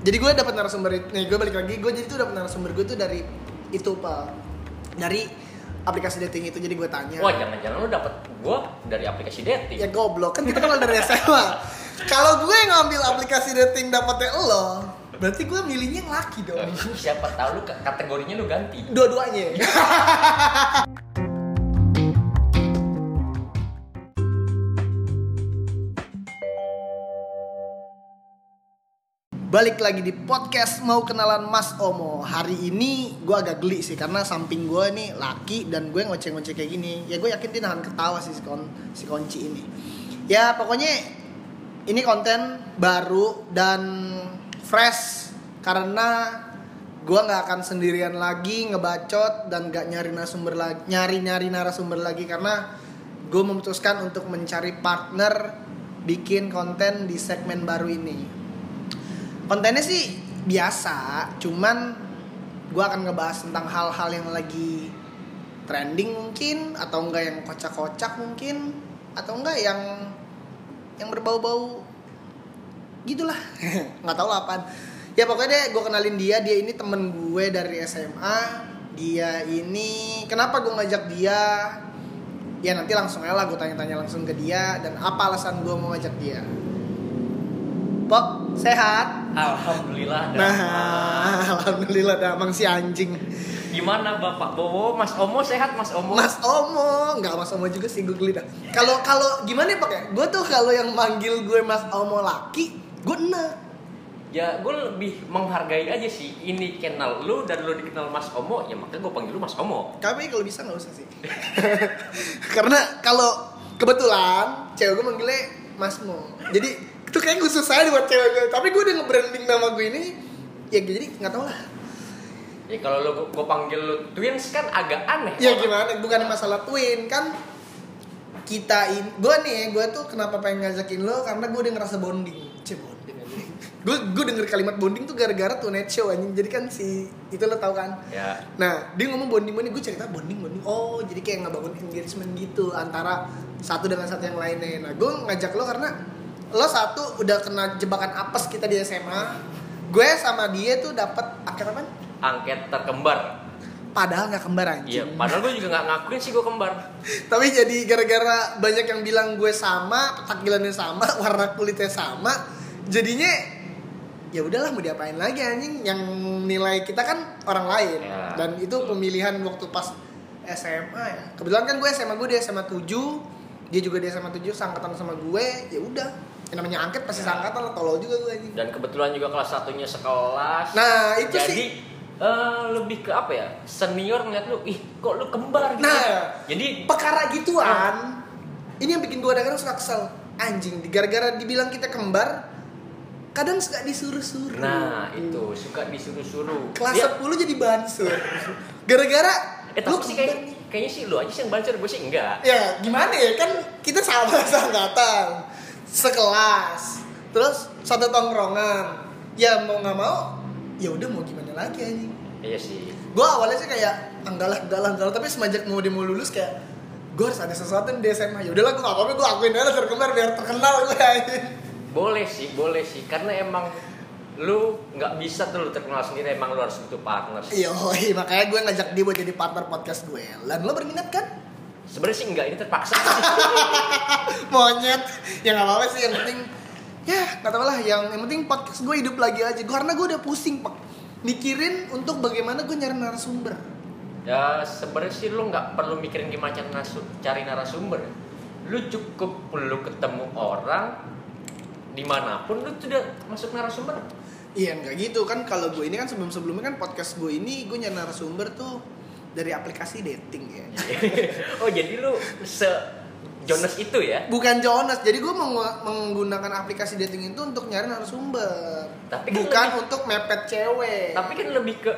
jadi gue dapat narasumber itu nih gue balik lagi gue jadi tuh dapat narasumber gue tuh dari itu pak dari aplikasi dating itu jadi gue tanya Wah, jangan-jangan lu dapet gua dari aplikasi dating. ya goblok kan kita kenal dari SMA kalau gue ngambil aplikasi dating dapatnya lo berarti gue milihnya yang laki dong Siapa tahu lu k- kategorinya lu ganti. dua-duanya Balik lagi di podcast mau kenalan Mas Omo Hari ini gue agak geli sih karena samping gue nih laki dan gue ngoceh-ngoceh kayak gini Ya gue yakin dia nahan ketawa sih si, kon- si Konci ini Ya pokoknya ini konten baru dan fresh Karena gue nggak akan sendirian lagi ngebacot dan gak nyari narasumber lagi nyari nyari narasumber lagi karena gue memutuskan untuk mencari partner bikin konten di segmen baru ini kontennya sih biasa cuman gue akan ngebahas tentang hal-hal yang lagi trending mungkin atau enggak yang kocak-kocak mungkin atau enggak yang yang berbau-bau gitulah nggak tahu lah apaan ya pokoknya deh gue kenalin dia dia ini temen gue dari SMA dia ini kenapa gue ngajak dia ya nanti langsung aja lah gue tanya-tanya langsung ke dia dan apa alasan gue mau ngajak dia Pok, sehat? Alhamdulillah. Nah, Damang. alhamdulillah damang si anjing. Gimana Bapak Bowo, Mas Omo sehat Mas Omo? Mas Omo, nggak Mas Omo juga sih gue geli dah. Kalau kalau gimana ya pak ya? Gue tuh kalau yang manggil gue Mas Omo laki, gue enak. Ya, gue lebih menghargai aja sih. Ini kenal lu dan lu dikenal Mas Omo, ya makanya gue panggil lu Mas Omo. Tapi kalau bisa nggak usah sih. Karena kalau kebetulan cewek gue manggilnya Mas Mo. Jadi itu kayak khusus saya buat cewek gue. Tapi gue udah nge-branding nama gue ini, ya jadi nggak tau lah. Ya kalau lu gue panggil lu twins kan agak aneh. Ya Orang- gimana? Bukan masalah twin kan kita in, gue nih, gue tuh kenapa pengen ngajakin lo karena gue udah ngerasa bonding, Cie, bonding. Gue gue denger kalimat bonding tuh gara-gara tuh net show anjing. Jadi kan si itu lo tau kan? Ya, Nah dia ngomong bonding bonding, gue cerita bonding bonding. Oh jadi kayak ngebangun engagement gitu antara satu dengan satu yang lainnya. Nah gue ngajak lo karena lo satu udah kena jebakan apes kita di SMA. Gue sama dia tuh dapat akhirnya apa? angket terkembar. Padahal nggak kembar anjing. Iya, padahal gue juga nggak ngakuin sih gue kembar. Tapi jadi gara-gara banyak yang bilang gue sama, takbilannya sama, warna kulitnya sama, jadinya ya udahlah mau diapain lagi anjing yang nilai kita kan orang lain Ya. dan itu pemilihan waktu pas SMA ya. Kebetulan kan gue SMA gue dia SMA 7, dia juga dia SMA 7 sangkatan sama gue, ya udah. Yang namanya angket pasti Ya. sangkatan lah tolol juga gue anjing. dan kebetulan juga kelas satunya sekelas Nah, itu jadi, sih. eh, lebih ke apa ya senior ngeliat lu ih kok lu kembar gitu Nah. jadi perkara gituan ini yang bikin gue kadang suka kesel anjing gara-gara dibilang kita kembar kadang suka disuruh-suruh nah itu suka disuruh-suruh kelas Dia- 10 jadi bansur gara-gara eh tapi sih kayak, kembar nih. kayaknya sih lu aja sih yang baca gue sih enggak ya gimana ya kan kita sama sangkatan sekelas terus satu tongkrongan ya mau nggak mau ya udah mau gimana lagi anjing iya sih gue awalnya sih kayak enggak lah enggak lah enggak lah tapi semenjak mau dia mau lulus kayak gue harus ada sesuatu di SMA ya udahlah gue gak apa-apa gue akuin aja lah terkembar biar terkenal gue anjing. boleh sih boleh sih karena emang lu nggak bisa tuh lu terkenal sendiri emang lu harus butuh Iya. partner sih Yoi, makanya gue ngajak dia buat jadi partner podcast gue dan lo berminat kan sebenarnya sih enggak ini terpaksa monyet ya nggak apa-apa sih yang penting ya nggak tau lah yang yang penting podcast gue hidup lagi aja gue karena gue udah pusing pak mikirin untuk bagaimana gue nyari narasumber ya sebenarnya sih lu nggak perlu mikirin gimana cara nasu- cari narasumber lu cukup perlu ketemu orang dimanapun lu sudah masuk narasumber Iya nggak gitu kan kalau gue ini kan sebelum sebelumnya kan podcast gue ini gue nyari narasumber tuh dari aplikasi dating ya. oh jadi lu se Jonas itu ya Bukan Jonas, jadi gue meng- menggunakan aplikasi dating itu untuk nyari narasumber. Tapi kan bukan untuk mepet cewek. tapi kan lebih ke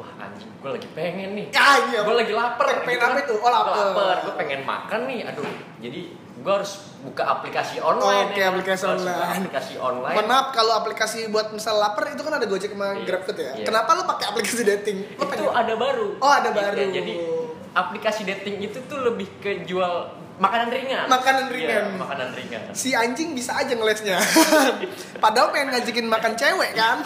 wah anjing gue lagi pengen nih ah, iya. gue lagi lapar Pengen apa gitu kan. itu? Oh, lapar. Gua gue pengen makan nih aduh jadi gue harus buka aplikasi online ya. Oke, aplikasi Gua harus buka online. aplikasi online Mohon maaf kalau aplikasi buat misal lapar itu kan ada Gojek sama Iya. GrabFood ya. Iya. Kenapa lu pakai aplikasi dating? Lu itu pengen ada baru Oh, ada Gitu ya, baru. jadi aplikasi dating itu tuh lebih ke jual makanan ringan Makanan Iya, ringan. makanan ringan si anjing bisa aja ngelesnya padahal pengen ngajakin makan cewek kan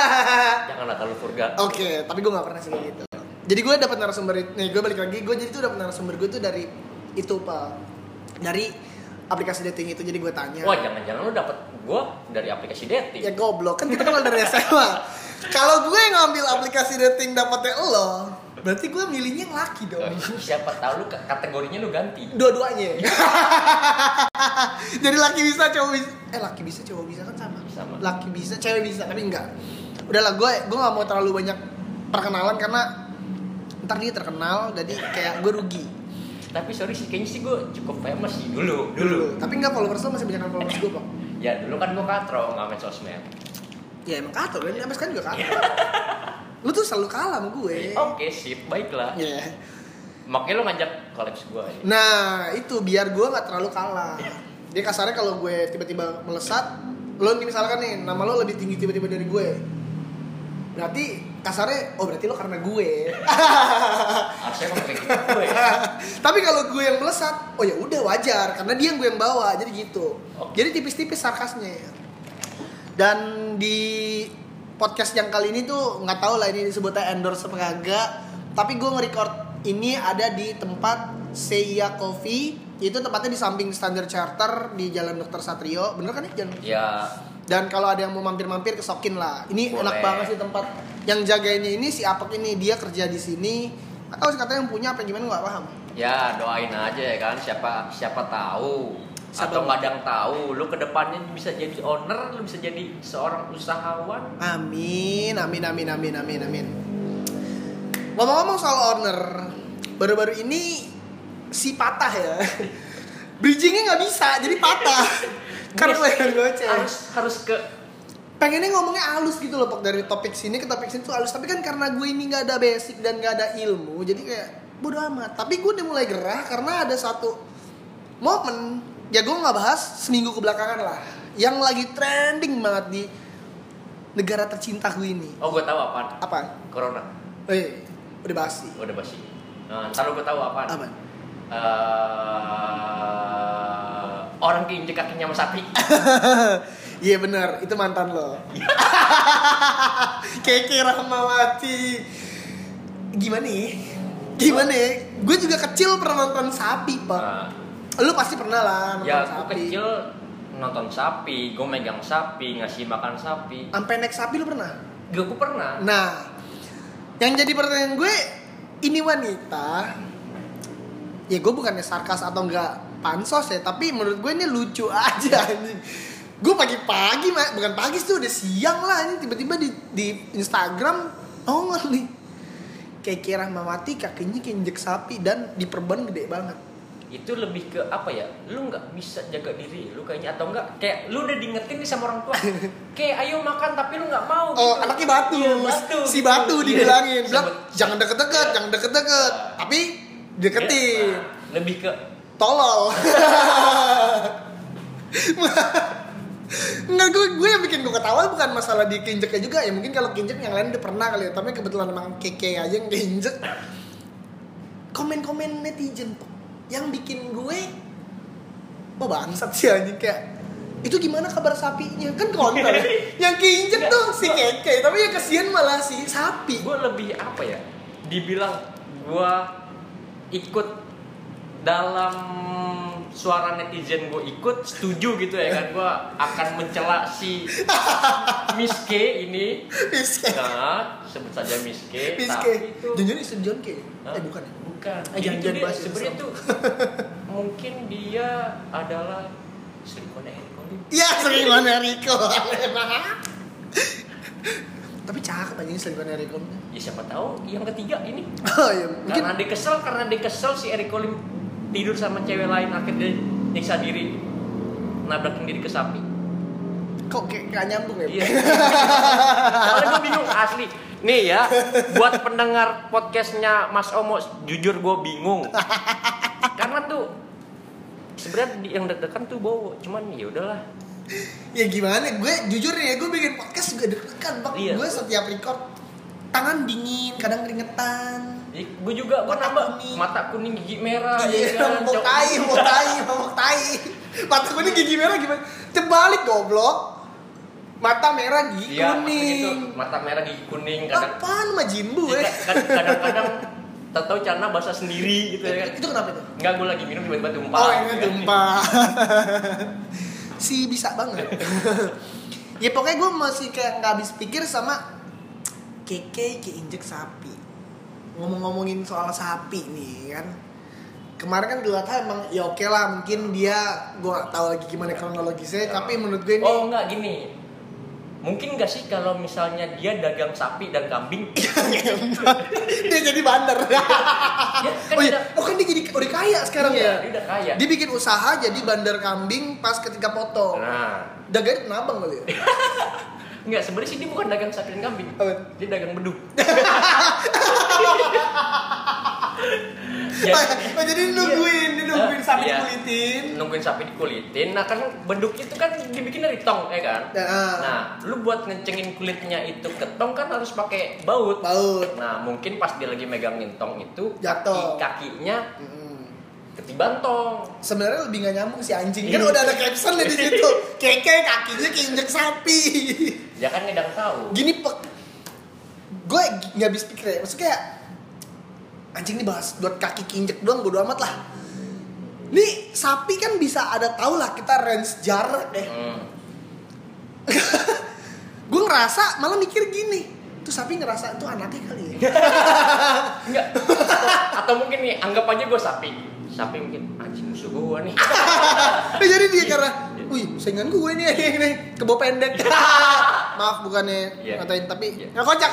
janganlah terlalu vulgar Ah. oke tapi gue nggak pernah sih kayak gitu jadi gue dapet narasumber it- nih gue balik lagi gue jadi tuh dapet narasumber gue tuh dari itu pak dari aplikasi dating itu jadi gue tanya wah jangan-jangan lu dapet gua dari aplikasi dating ya goblok kan kita kenal dari SMA kalau gue ngambil aplikasi dating dapetnya lo berarti gue milihnya yang laki dong Eh, siapa tahu lu k- kategorinya lu ganti dua-duanya jadi laki bisa cowok bisa eh laki bisa cowok bisa kan sama Sama. laki bisa cewek bisa tapi enggak udahlah gue gue nggak mau terlalu banyak perkenalan karena ntar dia terkenal jadi kayak gue rugi tapi sorry sih kayaknya sih gua cukup famous sih dulu dulu tapi enggak followers lo masih banyak followers gue kok ya dulu kan gua katro nggak main sosmed ya emang kato kan sampai sekarang juga kato lu tuh selalu kalah sama gue oke sip baiklah Iya. makanya lu ngajak kolaps gua ya. Nah, itu biar gue nggak terlalu kalah. Dia kasarnya kalau gue tiba-tiba melesat, lo nih misalkan nih nama lo lebih tinggi tiba-tiba dari gue. Berarti kasarnya, oh berarti lo karena gue. harusnya emang kayak gitu gue Tapi kalau gue yang melesat, oh ya udah wajar karena dia yang gue yang bawa. Jadi gitu. Oke. Jadi tipis-tipis sarkasnya. Dan di podcast yang kali ini tuh nggak tahu lah ini disebutnya endorse apa kagak. Tapi gue nge-record ini ada di tempat Seiya Coffee. Itu tempatnya di samping Standard Charter di Jalan Dr. Satrio. Bener kan ya? Jalan ya dan kalau ada yang mau mampir-mampir kesokin lah. Ini Boleh. enak banget sih tempat. Yang jagainnya ini si Apek ini dia kerja di sini. Atau katanya yang punya apa gimana nggak paham. ya doain aja ya kan siapa siapa tahu Siapa atau nggak ada yang tahu lu kedepannya bisa jadi owner lu bisa jadi seorang usahawan Amin, amin, amin, amin, amin, amin. Ngomong-ngomong soal owner, baru-baru ini si patah ya. Bridgingnya nggak bisa, jadi patah. Karena Yes. leher goceng. harus harus ke pengennya ngomongnya halus gitu loh Pak. dari topik sini ke topik sini tuh halus tapi kan karena gue ini nggak ada basic dan nggak ada ilmu jadi kayak bodo amat tapi gue udah mulai gerah karena ada satu momen ya gue nggak bahas seminggu kebelakangan lah yang lagi trending banget di negara tercinta gue ini oh gue tahu apaan apa corona eh udah bahas sih udah basi nah, ntar lu gue tahu apaan apa Eh, orang keinjek kakinya sama sapi iya bener itu mantan lo Keke Rahmawati gimana ya gimana ya gue juga kecil pernah nonton sapi pak nah, lu pasti pernah lah nonton ya aku sapi kecil nonton sapi gue megang sapi ngasih makan sapi sampai naik sapi lu pernah gue aku pernah nah yang jadi pertanyaan gue ini wanita ya gue bukannya sarkas atau enggak pansos ya tapi menurut gue ini lucu aja anjing gue pagi-pagi Ma. bukan pagi sih udah siang lah ini tiba-tiba di, di Instagram nongol nih kayak kira Rahmawati kakinya keinjek sapi dan diperban gede banget itu lebih ke apa ya lu nggak bisa jaga diri lu kayaknya atau enggak kayak lu udah diingetin nih sama orang tua kayak ayo makan tapi lu nggak mau Oh, gitu. anaknya batu. Iya, batu Si gitu. batu Iya. dibilangin, bilang Sebut- jangan deket-deket, Iya. jangan deket-deket. Tapi deketin. Nah, lebih ke Tolol. Nggak, gue, gue yang bikin gue ketawa bukan masalah di kinjeknya juga ya mungkin kalau kinjek yang lain udah pernah kali ya tapi kebetulan emang keke aja yang kinjek komen-komen netizen Pak. yang bikin gue oh bangsat sih anjing kayak itu gimana kabar sapinya kan counter yang kinjek tuh si keke tapi yang kesian malah si sapi gue lebih apa ya dibilang gue ikut dalam suara netizen gue ikut setuju gitu ya kan gue akan mencela si Miss K ini Miske nah sebut saja Miss K Miske tapi itu jangan istri John K eh Hah? bukan ya bukan Eh, jadi jangan- jangan itu dia bahas itu, sebenarnya Sam. tuh mungkin dia adalah selingkuhannya Eric Colin. Iya selingkuhannya Rico Tapi cakep aja ini selingkuhannya Rico ya siapa tahu yang ketiga ini Oh iya mungkin karena dia kesel karena dia kesel si Eric Colin tidur sama cewek lain akhirnya dia nyiksa diri nabrakin diri ke sapi kok kayak gak nyambung ya iya soalnya gue bingung asli nih ya buat pendengar podcastnya Mas Omo jujur gue bingung karena tuh sebenarnya di- yang deg-degan tuh bowo cuman ya udahlah Ya gimana gue jujur nih ya gue bikin podcast juga deg-degan bak Iya. Gue setiap record tangan dingin kadang keringetan gue juga gue Mata nambah kuning. mata kuning gigi merah ya Iya, kan? mau Jauh- tai, mau tai, mau tai. Mata kuning gigi merah gimana? Terbalik goblok. Mata merah gigi Iya, maksudnya itu kuning. mata merah gigi kuning kadang Iya, kan, Apaan sama jimbu eh? kadang-kadang tak tahu celana basah sendiri gitu ya kan Itu kenapa itu? Enggak, gue lagi minum tiba-tiba tumpah. Iya. Oh, ini gempa. si bisa banget. ya pokoknya gue masih kayak nggak habis pikir sama keke keinjek sapi. Ngomong-ngomongin soal sapi nih kan. Kemarin kan Dulata emang ya oke lah mungkin dia gue gak tahu lagi gimana kronologisnya tapi menurut gue ini Oh enggak gini. Mungkin nggak sih kalau misalnya dia dagang sapi dan kambing? Iya. dia jadi bandar. ya, kan oh udah, iya, oh kan dia jadi udah kaya sekarang iya, ya. dia udah kaya. Dia bikin usaha jadi bandar kambing pas ketika foto. Nah, Dagangnya kenapa kali ya? enggak sebenarnya sih dia bukan dagang sapi dan kambing. Apa? Dia dagang bedu. Oh, Jadi ya, oh, jadi nungguin, dia nungguin Iya. sampai Iya. dikulitin. nungguin sapi dikulitin, nah kan beduk itu kan dibikin dari tong, ya kan? Nah, Nah, lu buat ngecengin kulitnya itu ke tong kan harus pakai baut. baut. Nah, mungkin pas dia lagi megangin tong itu Jatuh. kaki- kakinya Mm. ketiban tong. Sebenarnya lebih gak nyambung si anjing. Kan Iya. udah ada caption di situ. Keke kakinya keinjek sapi. Ya kan ngedang tahu. Gini pek. Gue nggak habis pikir ya. Maksudnya kayak anjing ini bahas buat kaki keinjek doang bodo amat lah. Nih sapi kan bisa ada tau lah kita range jarak deh. Hmm. Gue ngerasa malah mikir gini. Tuh sapi ngerasa tuh anaknya kali ya. Enggak. atau, atau mungkin nih anggap aja gue sapi. Sapi mungkin anjing musuh gue nih. Eh, jadi dia karena, wih, saingan gue nih, ini, ini kebo pendek. Maaf bukannya Iya. ngatain tapi Iya. nggak kocak.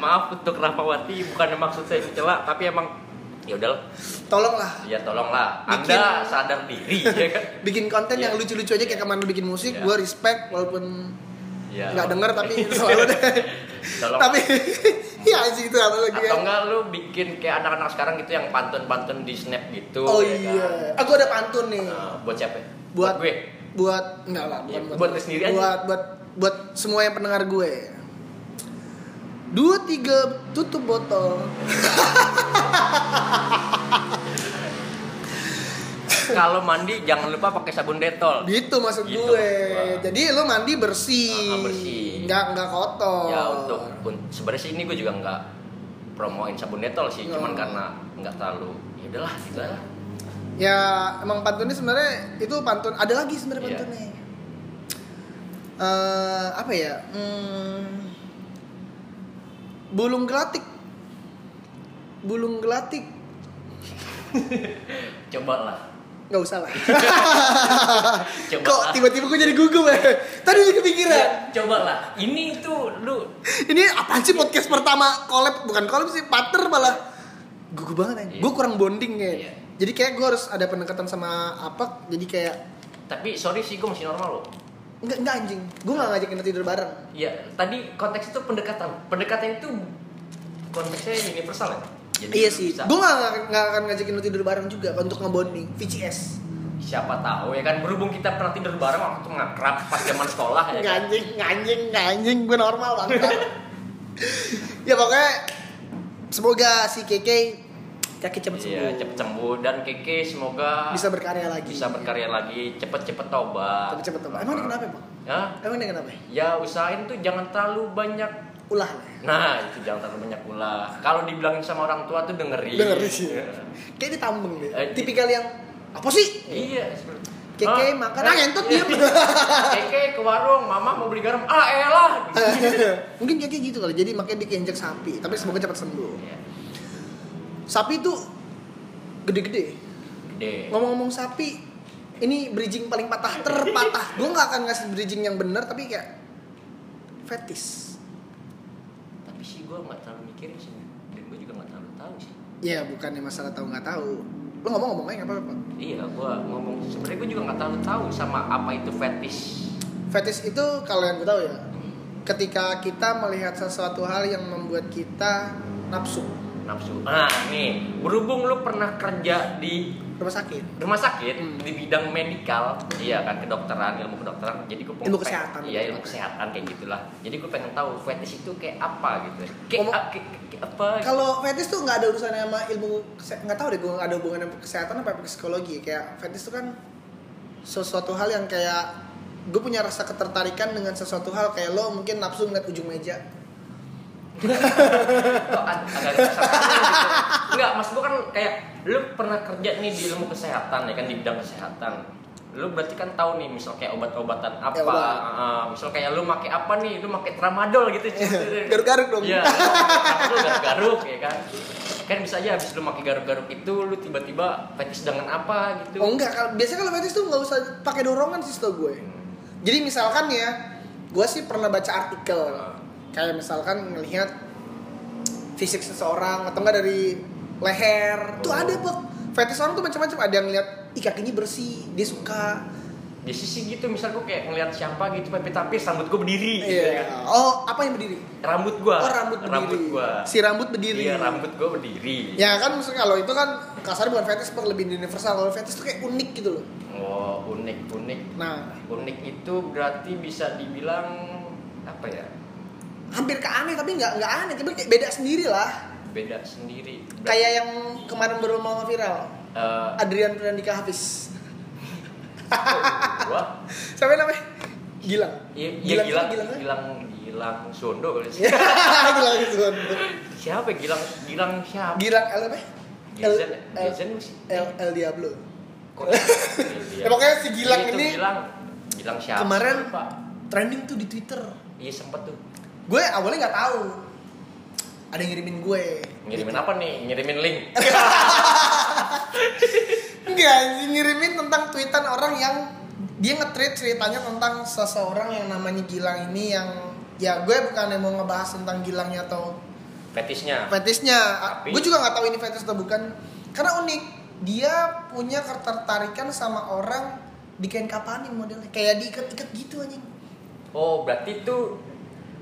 Maaf untuk Rahmawati, bukan maksud saya mencela, tapi emang ya udahlah. Tolonglah Ya tolonglah, Bikin- Anda sadar diri ya kan. bikin konten Iya. yang lucu-lucu aja kayak kemarin lu bikin musik, Iya. gue respect walaupun Ya. nggak denger tapi selalu deh. Tolong. tapi ya anjing itu apa lagi ya? Atau enggak lu bikin kayak anak-anak sekarang gitu yang pantun-pantun di snap gitu Oh ya kan? iya, aku ada pantun nih. Nah, buat siapa? Buat- gue. buat enggak lah Iya, bukan buat gue. lu sendiri aja. buat buat buat semua yang pendengar gue dua tiga tutup botol Kalau mandi jangan lupa pakai sabun detol. gitu maksud Gitu gue maksud gue. jadi lu mandi bersih Ah, bersih. nggak nggak kotor Ya untuk un- sebenarnya sih ini gue juga nggak promoin sabun detol sih, cuman Oh. karena nggak terlalu ya udahlah gitu lah. ya emang pantunnya sebenarnya itu pantun ada lagi sebenarnya Iya. pantunnya Eh, apa ya Hmm, bulung gelatik bulung gelatik Coba lah. nggak usah lah Coba kok lah. tiba-tiba gue jadi gugup ya tadi udah kepikiran Coba lah. Iya, Ini tuh lu ini apaan sih podcast pertama collab bukan collab sih partner malah gugup banget Iya. gue kurang bonding kayak Iya. jadi kayak gue harus ada pendekatan sama apa jadi kayak tapi sorry sih gue masih normal loh. enggak enggak anjing gue nggak ngajakin lo tidur bareng Ya, tadi konteks itu pendekatan. Pendekatan itu konteksnya universal ya. iya Jadi lu sih bisa- gue nggak nggak akan ngajakin lo tidur bareng juga untuk ngebonding VCS siapa tahu ya kan berhubung kita pernah tidur bareng waktu ngakrab pas zaman sekolah ya nggak kan. anjing nggak anjing nggak anjing gue normal banget ya pokoknya semoga si KK kaki cepet sembuh Iya, cepet sembuh dan Keke semoga bisa berkarya lagi bisa berkarya lagi, cepet-cepet tobat. cepet cepet emang dia kenapa bang Ya, emang dia kenapa ya usahain tuh jangan terlalu banyak ulah lah ya. Nah, itu jangan terlalu banyak ulah. Kalau dibilangin sama orang tua tuh dengerin. Dengerin sih. Iya. Kayak ditambeng deh. Eh, Tipikal yang apa sih? Iya. seperti- Keke Ah, makan eh, ah ngentot diem. Keke ke warung, mama mau beli garam. Ah, elah. Mungkin Keke gitu kali. Jadi makanya diinjek sapi, tapi semoga cepat sembuh. Iya. Sapi itu gede-gede. Gede. Ngomong-ngomong sapi, ini bridging paling patah terpatah. Gue nggak akan ngasih bridging yang bener tapi kayak fetis. Tapi sih gue nggak terlalu mikirin sih. Dan gue juga nggak terlalu tahu sih. Ya bukannya masalah tahu nggak tahu. Lo ngomong-ngomong aja nggak apa-apa. Iya, gua ngomong sebenarnya gua juga nggak tahu tahu sama apa itu fetish. Fetis itu kalau yang gue tahu ya, ketika kita melihat sesuatu hal yang membuat kita nafsu. Nafsu. Nah, nih, berhubung lu pernah kerja di rumah sakit rumah sakit Hmm. di bidang medikal iya kan kedokteran ilmu kedokteran jadi gue pengen Ilmu kesehatan. iya ilmu kesehatan kayak gitulah jadi gue pengen tahu fetish itu kayak apa gitu kayak, Ngomong- a- kayak- kayak- kayak apa gitu. kalau fetish tuh nggak ada urusannya sama ilmu kese- nggak tahu deh gue nggak ada hubungan sama kesehatan apa sama psikologi kayak fetish tuh kan sesuatu hal yang kayak gue punya rasa ketertarikan dengan sesuatu hal kayak lo mungkin nafsu ngeliat ujung meja Kok ag- agak kesehatan gitu enggak mas gue kan kayak lu pernah kerja nih di ilmu kesehatan ya kan di bidang kesehatan lu berarti kan tahu nih misal kayak obat-obatan apa Ya, obat. eh, misal kayak lu pakai apa nih lu pakai tramadol gitu Iya, garuk-garuk dong Iya, lu garuk-garuk ya kan. Kan bisa aja habis lu pakai garuk-garuk itu lu tiba-tiba fetish dengan apa gitu. oh enggak kalau biasanya kalau fetish tuh nggak usah pakai dorongan sih setahu ya. gue Jadi misalkan ya, gue sih pernah baca artikel kayak misalkan ngelihat fisik seseorang atau enggak dari leher, tuh Oh. ada Pok. Fetish orang tuh macam-macam, ada yang ngeliat ih kakinya bersih, dia suka. Di sisi gitu misal gua kayak ngeliat siapa gitu tapi tapi rambut gua berdiri gitu ya Iya. kan. Oh, apa yang berdiri? Rambut gua. Oh, rambut berdiri. gua. Si rambut berdiri. Iya, rambut gua berdiri. Ya kan maksudnya kalau itu kan kasar bukan fetish, Pok, lebih universal. Kalau fetish tuh kayak unik gitu loh. Oh, unik-unik. Nah, Unik itu berarti bisa dibilang apa ya? hampir ke aneh tapi nggak nggak aneh, tapi kayak beda sendiri lah. Beda sendiri. Kayak yang kemarin baru mau viral, Eh, Adrian Pranandika Hafiz. gua Siapa namanya? Gilang. Iya, iya, Gilang Gilang, Gilang Iya. kan? Gilang, Gilang, Sondo kali sih. Gilang Gilang. siapa ya? Gilang Gilang siapa Gilang L apa? L Gilzen L Gilzen sih L, L Diablo. kok Ya, pokoknya si Gilang Iya, Itu ini- Gilang Gilang siapa Kemarin- Pak Trending tuh di Twitter. iya sempet tuh Gue awalnya nggak tahu. Ada yang ngirimin gue. ngirimin apa nih ngirimin link Enggak, sih, ngirimin tentang tweetan orang yang dia nge-tweet ceritanya tentang seseorang yang namanya Gilang ini yang ya gue bukan yang mau ngebahas tentang Gilangnya atau fetishnya fetishnya Tapi- gue juga nggak tahu ini fetish atau bukan karena unik dia punya ketertarikan sama orang di kain kapanin modelnya kayak diikat-ikat gitu anjing oh berarti tuh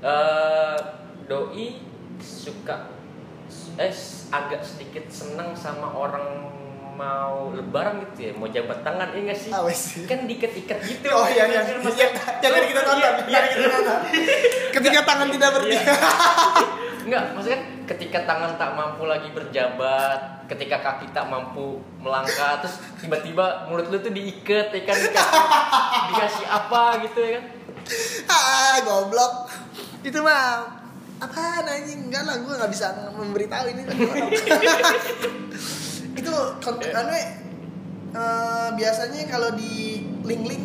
eh doi suka eh s- agak sedikit seneng sama orang mau lebaran gitu ya mau jabat tangan iya nggak sih Awas sih. kan diket-iket gitu oh iya iya Kan yang, masa- yang, yang tadi kita Iya, tonton iya. yang tadi kita tonton ketika tangan tidak bertiga Enggak, maksudnya ketika tangan tak mampu lagi berjabat, ketika kaki tak mampu melangkah, terus tiba-tiba mulut lu tuh diikat, ya kan dikasih, dikasih apa gitu ya kan? ah goblok itu mah apa anjing enggak lah gue nggak bisa memberitahu ini itu konten Iya. anu eh, biasanya kalau di link-link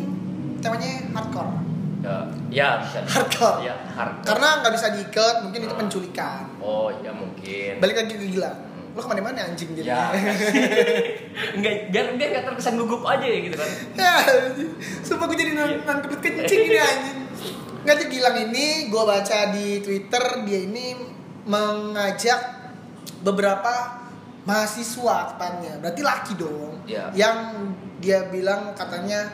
temanya hardcore Ya, ya bisa. bisa. Hardcore. Ya, hardcore. karena nggak bisa diikat mungkin itu penculikan oh ya mungkin. balik lagi ke gila lo kemana-mana anjing jadi Ya. Enggak, biar biar nggak terkesan gugup aja ya gitu kan. ya sumpah gue jadi Iya. nan- nan kebet kencing ini anjing nggak tuh Gilang ini gue baca di Twitter dia ini mengajak beberapa mahasiswa tepatnya berarti laki dong Ya. yang dia bilang katanya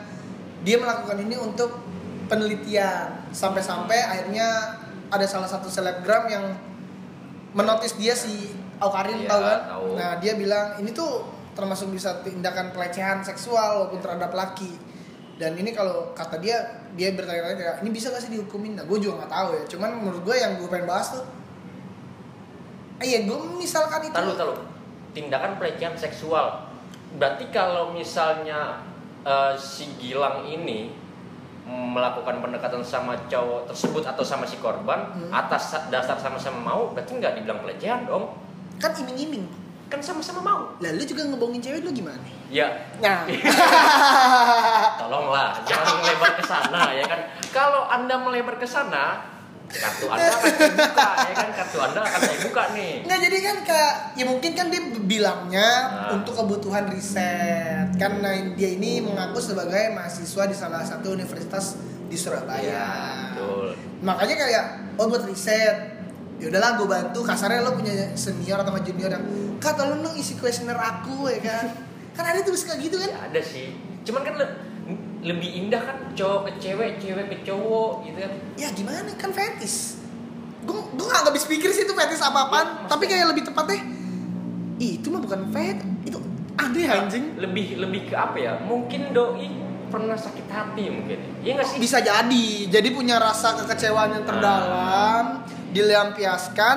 dia melakukan ini untuk penelitian sampai-sampai akhirnya ada salah satu selebgram yang menotis dia si Aukarin Iya, tahu kan tahu. nah dia bilang ini tuh termasuk bisa tindakan pelecehan seksual walaupun terhadap laki dan ini kalau kata dia dia bertanya-tanya kayak, ini bisa gak sih dihukumin nah gue juga nggak tahu ya cuman menurut gue yang gue pengen bahas tuh iya gue misalkan itu Tahu tahu. Tindakan pelecehan seksual. Berarti kalau misalnya eh, si Gilang ini melakukan pendekatan sama cowok tersebut atau sama si korban Hmm. atas sa- dasar sama-sama mau, berarti nggak dibilang pelecehan dong? kan iming-iming Kan sama-sama mau. lalu juga ngebohongin cewek lu gimana Ya, nah tolonglah jangan melebar ke sana ya kan. Kalau Anda melebar ke sana, kartu Anda akan saya buka ya kan, kartu Anda akan saya buka nih. Nggak jadi kan kayak ya mungkin kan dia bilangnya Nah. untuk kebutuhan riset karena dia ini mengaku sebagai mahasiswa di salah satu universitas di Surabaya. Iya, betul. Makanya kayak oh buat riset. Ya udahlah gue bantu kasarnya lo punya senior atau nggak junior yang kak tolong dong isi kuesioner aku ya kan. kan ada tuh suka gitu Ya, kan. ada sih. Cuman kan le- lebih indah kan cowok ke cewek, cewek ke cowok gitu kan. Ya gimana kan fetis. Gue gue nggak Iya, habis pikir sih itu fetis apa apaan. Tapi kayak lebih tepatnya Ih, itu mah bukan fet, itu Aneh anjing. lebih lebih ke apa ya mungkin doi pernah sakit hati mungkin iya nggak sih Bisa jadi. Jadi punya rasa kekecewaan yang terdalam, dilampiaskan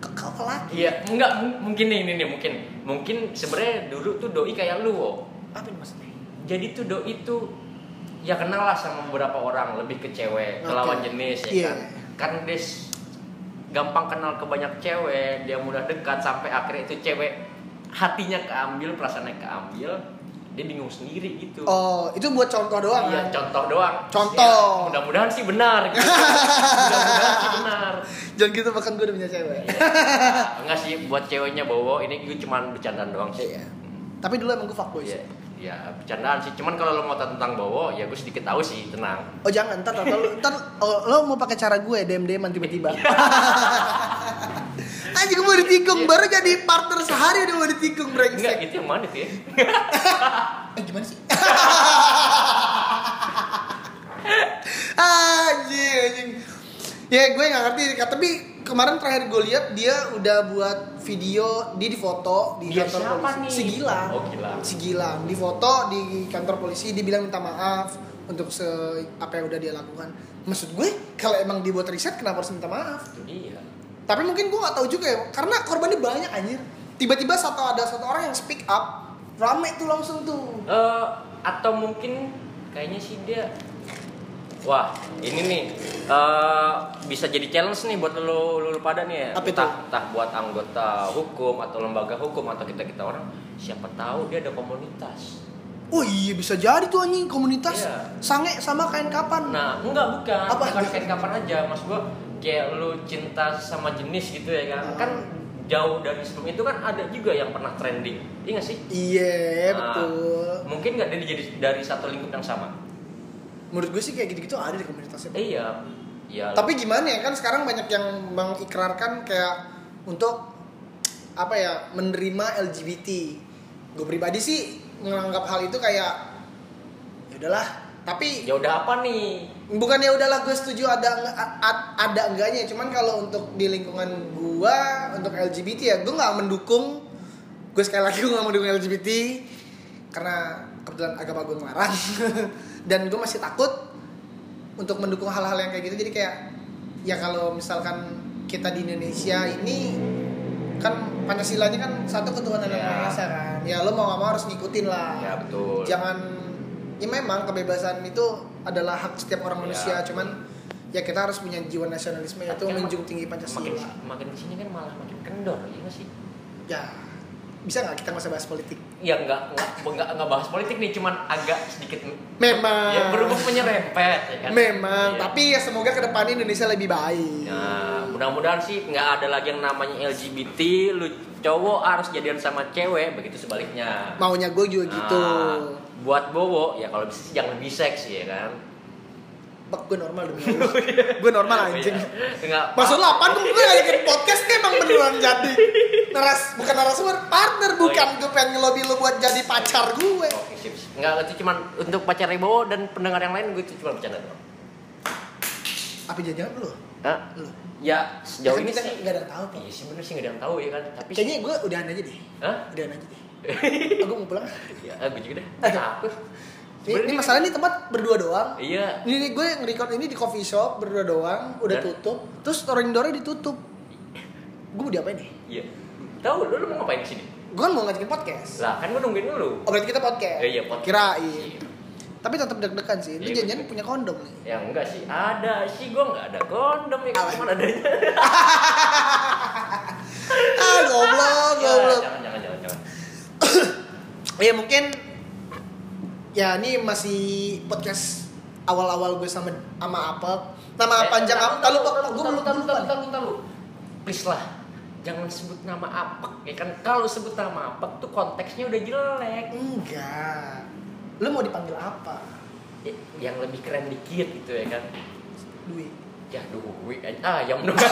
ke, ke ke laki. iya nggak mu- mungkin nih ini nih mungkin mungkin sebenarnya dulu tuh doi kayak lu Wo. Apa ini maksudnya? jadi tuh doi tuh ya kenal lah sama beberapa orang lebih ke cewek ke Oke. lawan jenis ya Iya. kan kan des gampang kenal ke banyak cewek dia mudah dekat sampai akhirnya itu cewek hatinya keambil perasaannya keambil dia bingung sendiri gitu Oh, itu buat contoh doang. kan? Iya, contoh doang. Contoh. Ya, mudah-mudahan sih benar. Gitu. mudah-mudahan sih benar. Jangan gitu bahkan gue udah punya cewek. Ya, enggak sih buat ceweknya bawa ini gue cuman bercandaan doang sih. Iya. Tapi dulu emang gue fuckboy sih. Iya. Ya, bercandaan sih. Cuman kalau lo mau tahu tentang Bowo, ya gue sedikit tahu sih, tenang. Oh jangan, ntar, ntar, lu- ntar oh, lo mau pakai cara gue dm dman tiba-tiba. Iya. Anjing gue mau ditikung, baru jadi partner sehari udah mau ditikung Enggak, brengsek. itu yang mana sih? Eh gimana sih? anjing, anjing. Ya gue nggak ngerti, Kak. tapi kemarin terakhir gue lihat dia udah buat video dia difoto di Dia kantor siapa polisi. nih? Si Gilang. Oh, Gilang. Si Gilang difoto di kantor polisi dia bilang minta maaf untuk se apa yang udah dia lakukan. Maksud gue kalau emang dibuat riset kenapa harus minta maaf? Itu dia. Tapi mungkin gue gak tahu juga ya, karena korbannya banyak anjir. Tiba-tiba satu ada satu orang yang speak up, rame tuh langsung tuh. Eh, atau mungkin kayaknya sih dia Wah, ini nih eh, bisa jadi challenge nih buat lo lo lo pada nih ya. Apa itu? Entah, entah buat anggota hukum atau lembaga hukum atau kita kita orang, siapa tahu dia ada komunitas. Oh iya bisa jadi tuh anjing komunitas Iya. sange sama kain kapan. Nah, enggak bukan, Apa? bukan kayak kapan aja, mas gua kayak lu cinta sama jenis gitu ya Hmm. kan? Kan jauh dari sebelum itu kan ada juga yang pernah trending, iya nggak sih? Iya Nah. betul. Mungkin nggak dari jadi dari satu lingkup yang sama? Menurut gue sih kayak gitu-gitu ada di komunitasnya. Eh, Iya, iya. Tapi gimana ya kan sekarang banyak yang mengikrarkan kayak untuk apa ya menerima LGBT. Gue pribadi sih menganggap hal itu kayak ya udahlah. Tapi ya udah apa nih? bukan ya udahlah gue setuju ada eng- a- a- ada enggaknya cuman kalau untuk di lingkungan gua untuk LGBT ya gue nggak mendukung gue sekali lagi gue nggak mendukung LGBT karena kebetulan agama gue ngelarang dan gue masih takut untuk mendukung hal-hal yang kayak gitu jadi kayak ya kalau misalkan kita di Indonesia ini kan pancasilanya kan satu ketuhanan yang Ya. maha esa kan ya lo mau nggak mau harus ngikutin lah Ya betul. jangan ya memang kebebasan itu adalah hak setiap orang Ya. manusia cuman ya kita harus punya jiwa nasionalisme yaitu Tapi kan menjunjung tinggi makin pancasila makin di sini kan malah makin kendor ya nggak sih ya bisa nggak kita nggak usah bahas politik ya nggak nggak nggak nggak bahas politik nih cuman agak sedikit memang ya berhubung menyerempet ya kan Ah. memang Iya. tapi ya semoga kedepannya Indonesia lebih baik Nah, mudah-mudahan sih nggak ada lagi yang namanya LGBT lu cowok harus jadian sama cewek begitu sebaliknya maunya gue juga gitu Nah, buat bowo ya kalau bisa sih jangan lebih seks ya kan Pak, gue normal demi Allah. gue normal anjing Oh, Iya. nggak Maksud lu apaan? Gue ngajakin podcast nih emang beneran jadi Naras, bukan narasumber, partner Oh, bukan iya. Gue pengen ngelobi lu buat jadi pacar gue Oke, sip, sip. nggak itu cuman untuk pacar Bowo dan pendengar yang lain gue itu cuma bercanda doang. Apa jangan lu? Hah? Lu? Ya sejauh Kan ini kita sih nggak ada yang tahu, Pak. Iya sih bener sih nggak ada yang tahu ya kan. Tapi Kayaknya gue udahan aja deh. Hah? Udahan aja deh. Aku mau pulang. Eh, Ya, gue juga deh. Apa? Ini, ini masalah nih tempat berdua doang. Iya. Ini ini gue nge-record ini di coffee shop berdua doang, udah Dan- tutup. Terus orang dornya ditutup. Gue mau diapain nih? Iya. Tahu lu, lu mau ngapain di sini? Gue kan mau ngajakin podcast. Lah, kan gua nungguin dulu. Oh berarti kita podcast. Iya, iya, podcast. Kirain. Tapi tetap deg-degan sih. Lu Iya, janjian punya kondom nih. Ya enggak sih, ada sih gua enggak ada kondom ya kan Apa? cuman adanya. Ah, goblok, Ya, goblok. jangan jangan jangan jangan. Ya mungkin ya ini masih podcast awal-awal gue sama sama apa nama Eh, panjang tahu, apa kalau tahu, tahu, gue tahu, belum tahu, lupa tahu, tahu, tahu. Please lah. Jangan sebut nama apek ya kan. Kalau sebut nama apek tuh konteksnya udah jelek. Enggak. Lu mau dipanggil apa? Ya, yang lebih keren dikit gitu ya kan. Dwi. Ya duit aja. Ah, yang enggak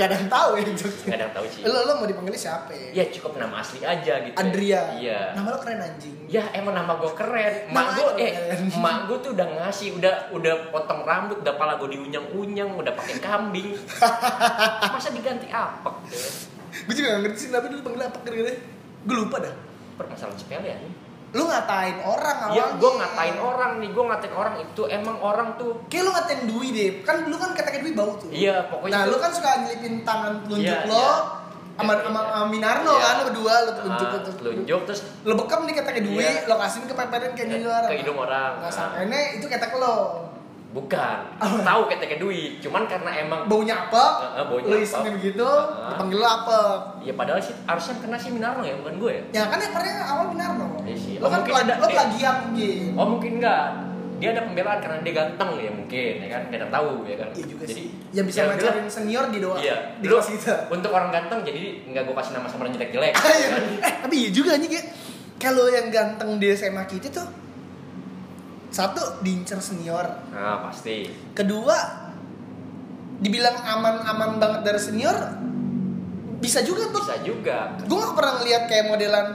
Gak ada yang tahu ya jokesnya. enggak ada yang tahu sih. Lu, lu mau dipanggil siapa? Ya cukup nama asli aja gitu. Andrea. Iya. Nama lu keren anjing. Ya emang nama gue keren. Mak Nama gue aja eh keren. mak gue tuh udah ngasih, udah udah potong rambut, udah pala gue diunyang-unyang, udah pakai kambing. Masa diganti apek? Gue juga gak ngerti sih kenapa dulu panggil apa keren gue lupa dah permasalahan sepele ya lu ngatain orang ya awalnya gue ngatain orang nih gue ngatain orang itu emang orang tuh kayak lu ngatain Dwi deh kan dulu kan kata Dwi bau tuh iya pokoknya nah tuh- lu kan suka nyelipin tangan telunjuk Iya, lo iya. sama sama sama Minarno Iya. kan lo berdua lo telunjuk Ah, lo tuh. telunjuk terus lo bekam nih kata Dwi Iya. lo kasihin ke peperin kayak gini orang ke hidung orang nah Ah. sampai Oh. itu kata ke lo bukan Apa? tahu ketek duit cuman karena emang baunya apa Heeh, baunya lo apa. isengin gitu Heeh. dipanggil lo apa ya padahal sih harusnya kena sih Minarno ya bukan gue ya ya kan yang pernah awal Minarno Iya sih. lo Oh, kan mungkin pelag- ada- lo dia- plagiat Iya mungkin oh mungkin enggak dia ada pembelaan karena dia ganteng ya mungkin ya kan kita tahu ya kan Iya juga jadi sih. Yang bisa ya udahlah. ngajarin senior di doang. iya Di lu kelas kita. untuk orang ganteng jadi nggak gue kasih nama samaran jelek jelek Iya. eh, tapi iya juga nih kayak kalau yang ganteng di SMA kita tuh satu diincer senior, nah pasti kedua dibilang aman-aman banget dari senior bisa juga tuh. bisa juga Gue gak pernah ngeliat kayak modelan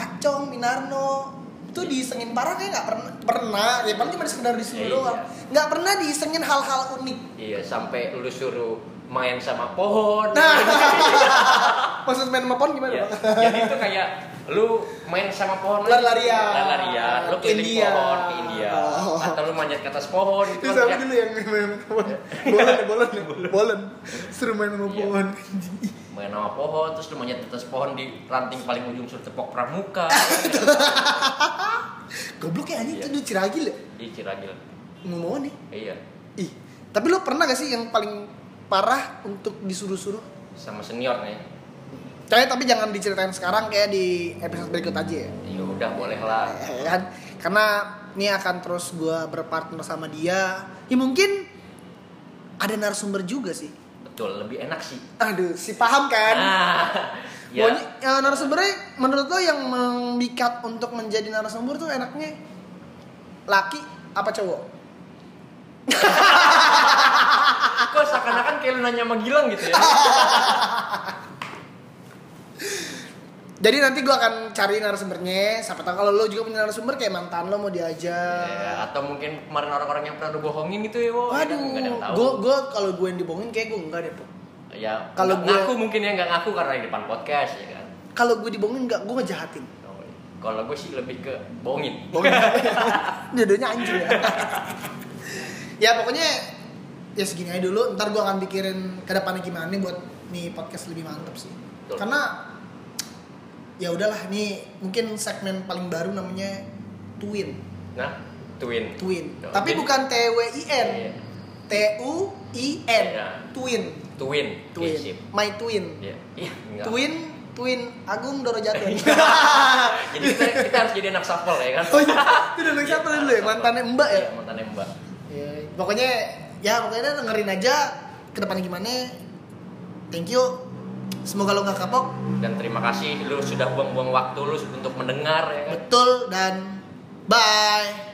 Acong, Minarno itu diisengin parah kayak nggak pernah pernah ya paling cuma sekedar disuruh Iya. doang nggak pernah diisengin hal-hal unik iya sampai lu suruh main sama pohon nah maksud main sama pohon gimana Iya. Bang? jadi itu kayak lu main sama pohon Lari-larian. larian lu Ke keliling India. pohon ke India Oh. atau lu manjat ke atas pohon gitu Terus kan apa ya. dulu yang main pohon? Bolen ya, bolen ya, bolen. Seru main sama Iya. pohon. main sama pohon terus lu manjat ke atas pohon di ranting paling ujung suruh tepok pramuka Goblok ya anjing Iya. itu di Ciragil ya? Ih, Ciragil. Ngomong nih. iya Ih, tapi lo pernah gak sih yang paling parah untuk disuruh-suruh? sama senior nih Kayak tapi jangan diceritain sekarang kayak di episode berikut aja ya. ya udah boleh lah Ya kan? Karena ini akan terus gue berpartner sama dia. Ya mungkin ada narasumber juga sih. betul lebih enak sih Aduh, si paham kan? nah Ya. ya narasumbernya menurut lo yang memikat untuk menjadi narasumber tuh enaknya laki apa cowok? kok seakan-akan kayak lu nanya sama Gilang gitu ya Jadi nanti gua akan cari narasumbernya. Siapa tahu kalau lo juga punya narasumber kayak mantan lo mau Ya, diajak. atau mungkin kemarin orang-orang yang pernah lu bohongin gitu ya wo Ya kan, Waduh, nggak ada yang tahu gue gue kalau gue yang dibohongin kayak gue enggak deh. Po. ya Kalau kalau gua- ngaku mungkin ya nggak ngaku karena di depan podcast ya kan Oh, iya. Kalau gue dibohongin enggak, gue ngejahatin. kalau gue sih lebih ke bohongin Bohongin. Dua-duanya anjing ya. ya pokoknya ya segini aja dulu. Ntar gue akan pikirin ke depannya gimana nih buat nih podcast lebih mantap sih. Betul. Karena ya udahlah nih mungkin segmen paling baru namanya Twin. nah twin Twin. Betul. Tapi Jadi- bukan T W I N. Iya. T U I N. Iya. Twin. twin Twin. Iya, sip. My Twin. Iya. Iya, enggak. Twin Twin Agung Doro Jatun. jadi kita, kita harus jadi anak shuffle ya kan oh iya, itu udah next apa dulu ya? Mantannya Mbak ya? Iya, mantannya mbak Ya, pokoknya ya pokoknya dengerin aja ke depannya gimana. Thank you. Semoga lo nggak kapok. dan terima kasih lu sudah buang-buang waktu lu untuk mendengar ya kan Betul dan bye.